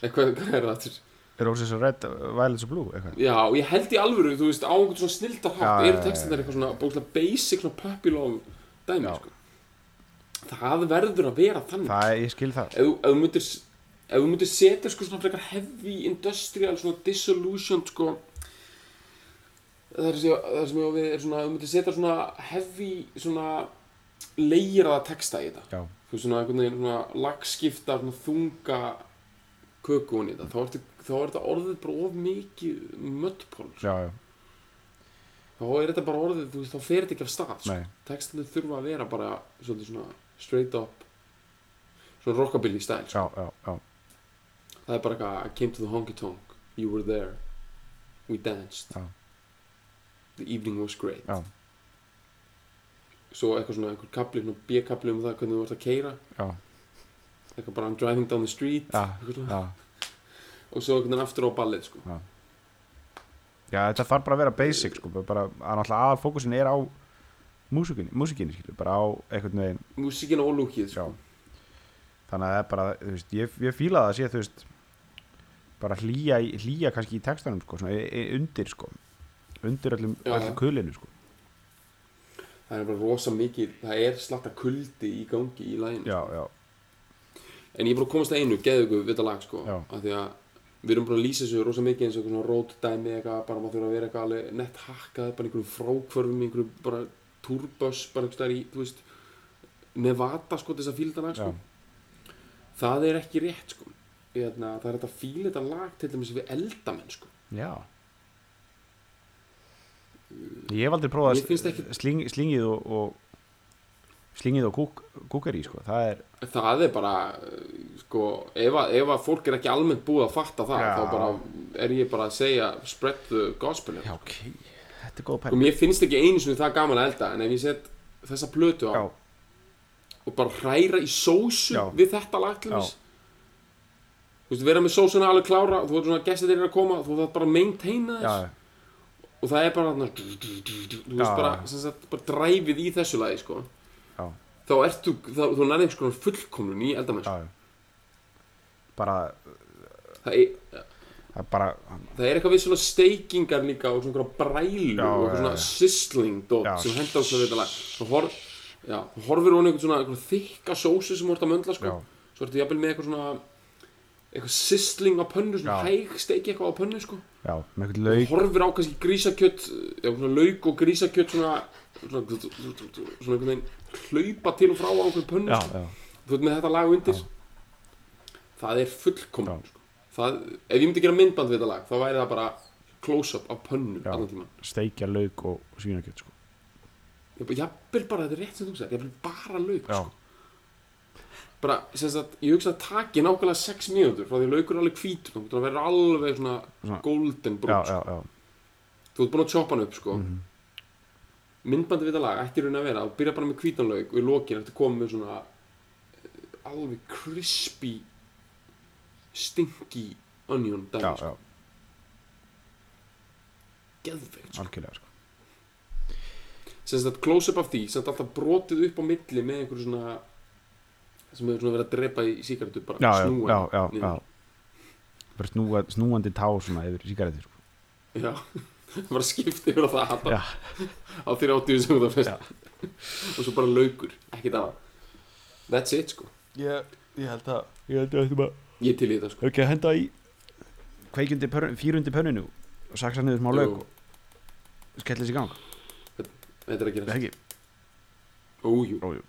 A: eitthvað, hvað er það aftur?
B: Roses are red, uh, violets are blue, eitthvað
A: Já, og ég held í alvöru, þú veist, á einhvern svona snildarhátt
B: Já,
A: eru
B: já,
A: textinir
B: já.
A: eitthvað svona bókstlega basic, svona puppy love dæmi,
B: Já.
A: sko. Það verður að vera þannig.
B: Það, er- ég skil það
A: Ef, þú- ef þú myndir, ef þú myndir setja sko svona frekar heavy industrial, svona dissolution, sko, það er sem, það sem ég á við er svona, ef þú myndir setja svona heavy, svona leiraða texta í þetta.
B: Já,
A: Þú veist, svona einhvern veginn, svona lagskipta, svona þunga kökun í þetta, þá ertu- þá er þetta orðið bara of mikið möttpól,
B: já, já,
A: þá er þetta bara orðið, þú veist, þá fer þetta ekki af stað sko.
B: nei
A: textinni þurfa að vera bara svolítið svona straight up svona rockabilly stæl sko.
B: Já, já, já
A: það er bara eitthvað I came to the honky tonk, you were there we danced
B: Já.
A: the evening was great
B: já,
A: svo eitthvað svona, einhver kapli, svona b-kapli um það hvernig þú vart að keira
B: já,
A: eitthvað bara I'm driving down the street
B: já,
A: eitthvað svona.
B: já,
A: og svo einhvern veginn aftur á ballið sko.
B: já. já þetta þarf bara að vera basic sko, bara- bara að náttúrulega aðal fókusin er á músikinni, músikinni skilur, bara á einhvern veginn
A: músikinn og lúkið
B: já.
A: sko.
B: þannig að það er bara, þú veist, ég, ég fíla það að sé, þú veist bara hlýja, í- hlýja kannski í textanum, sko, svona e- e- undir, sko undir öllum,
A: Já.
B: öllum kulinu, sko
A: það er bara rosa mikið, það er slatta kuldi í gangi í læginu
B: já, já,
A: en ég er bara að komast að einu, geðu ykkur við þetta lag sko,
B: Já.
A: af því að við erum bara að lýsa þessu rosa mikið eins og eitthvað svona rót dæmi eitthvað, bara maður þurfa að vera eitthvað alveg nett hakkað, bara í einhverjum frákvörfum, í einhverjum bara túrböss, bara einhverjum stær í, þú veist Nevada sko, þess að fíla þetta lag sko
B: Já.
A: það er ekki rétt sko Eðna, það er hægt að fíla þetta lag til dæmis við eldamenn sko
B: já. ég hef aldrei prófað
A: Mér finnst ekki-
B: sling, slingið og, og slingið og kúk, kúkeri, sko það er,
A: það er bara eh, sko, ef að, ef að fólk er ekki almennt búið að fatta það
B: Já.
A: þá bara er ég bara að segja spread the gospel hérna. já,
B: ok, þetta er góð
A: og
B: pæl
A: mér finnst ekki einu sinni það gaman að elda en ef ég set þessa plötu á
B: já,
A: og bara hræra í sósu
B: Já.
A: við þetta lag til
B: Já.
A: þess þú veist, vera með sósuna alveg klára þú veist svona gestir þeir eru að koma þú veist bara maintaina
B: já,
A: þess og það er bara þarna du- du- du- du- du- þú veist
B: Já.
A: bara, sem sagt, bara dræfið í þessu lagi sko.
B: já,
A: þá ert þú, þá, þú nærði einhvers konar fullkomnun í eldamenn
B: já bara,
A: það er,
B: það er bara
A: það er eitthvað við svona steikingar líka og svona einhverja brælur og
B: Já, já,
A: eitthvað svona
B: já.
A: sizzling dot
B: Já.
A: sem henda á svo við þetta lag þú hor, já, þú horfir hún einhvern svona einhverja þykka sósu sem þú ert að möndla sko.
B: Já.
A: svo ertu jafnvel með eitthvað svona eitthvað sizzling á pönnu svona
B: Já.
A: hæg steiki eitthvað á pönnu sko.
B: já, með einhvern lauk
A: horfir á kannski grísakjött já, svona lauk og grísakjött svona svona, svona einhvern veginn hlaupa til og frá á einhverju pönnu
B: já,
A: sko
B: já,
A: þú veit með þetta lag undir það er fullkomn
B: Já.
A: sko. það, ef ég myndi gera myndband við þetta lag þá væri það bara close-up á pönnu
B: Já.
A: allan tíma
B: steikja lauk og svínakjöt, sko
A: jafnvel bara, þetta er rétt sem þú segir jafnvel bara lauk
B: já,
A: sko. bara, sem sagt, ég hugsa að taki nákvæmlega 6 mínútur frá því að laukur er alveg hvítur þú verður alveg svona,
B: Svona-
A: golden
B: já,
A: brún
B: já,
A: sko.
B: já
A: þú ert búin að choppa hann upp sko.
B: Mhm.
A: myndbandi við þetta lag ætti í raun að vera þú byrja bara með hvítan lauk og í lokin ertu komið með svona eh, alveg crispy stinky onion
B: já,
A: dæmi sko.
B: já,
A: geðveikt sko.
B: algjörlega sko.
A: sem sagt close up af því sem sagt alltaf brotið upp á milli með einhverju svona sem hefur svona verið að drepa í síkartu bara
B: já, já,
A: snúa
B: já, já,
A: niður.
B: já. bara snúa, snúandi tá svona yfir síkaretir sko.
A: já. *laughs* bara skipti yfir á það bara
B: já,
A: *laughs* á þeirra áttíu sem það finnst *laughs* og svo bara laukur, ekkert annað that's it sko,
B: ég, ég held að ég held að þetta bara
A: ég er til í þetta sko
B: ekki að henda í kveikjundi pörn, fýrundi pönninu og saksa niður smá lauk
A: Jú.
B: og skellir sér í gang
A: þetta er að gera
B: ekki,
A: ójú,
B: rójú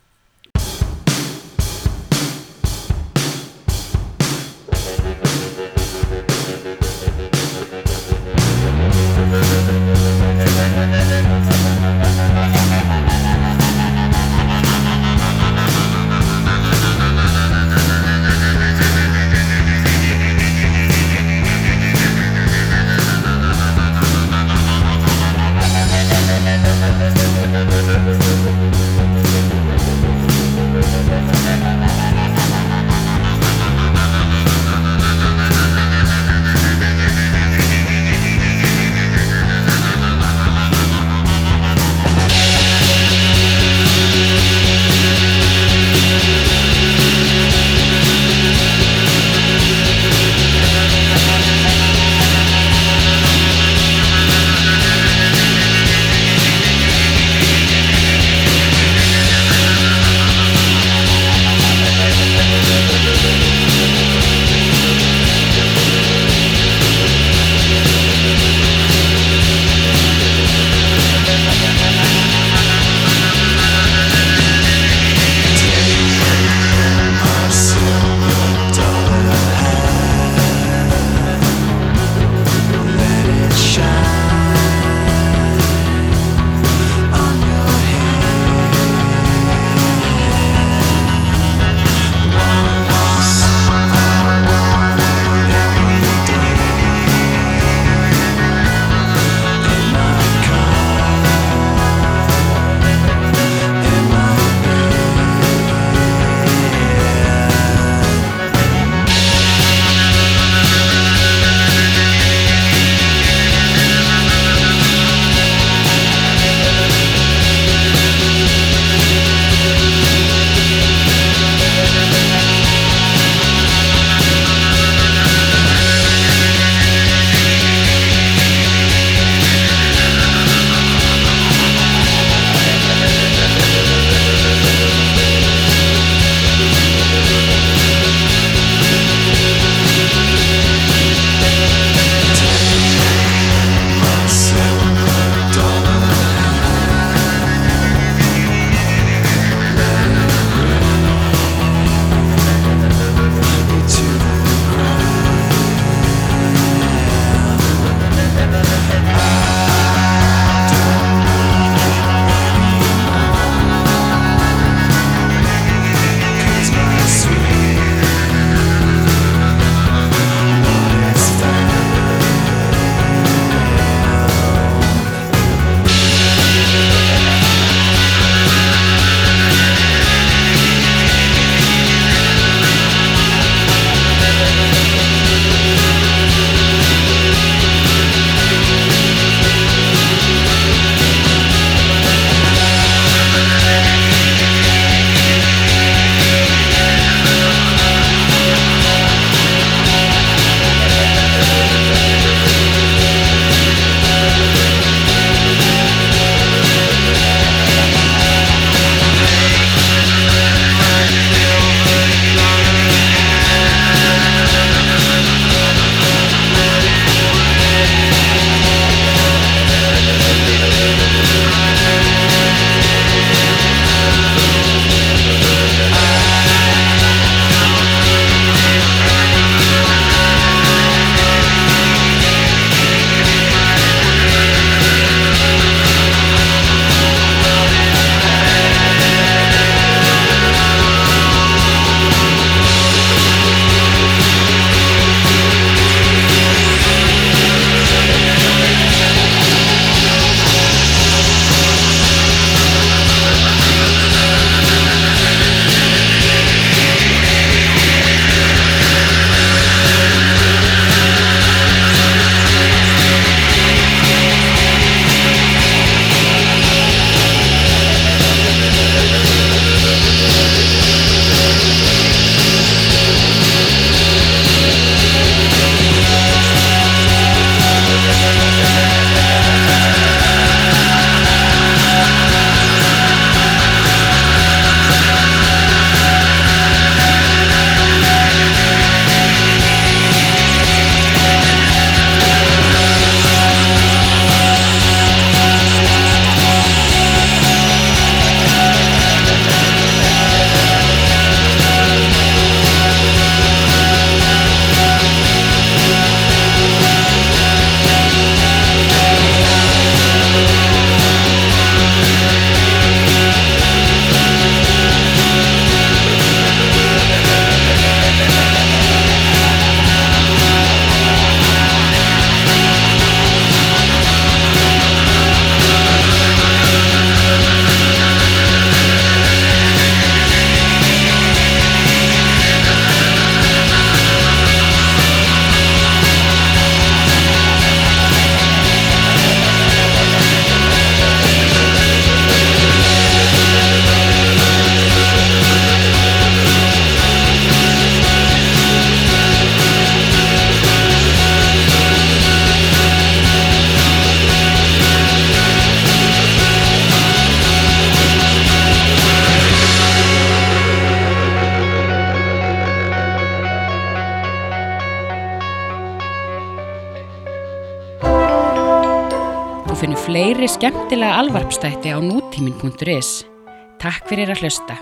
C: Thank
D: og finnum fleiri skemmtilega alvarpstætti á nútímin.is. Takk fyrir að hlusta.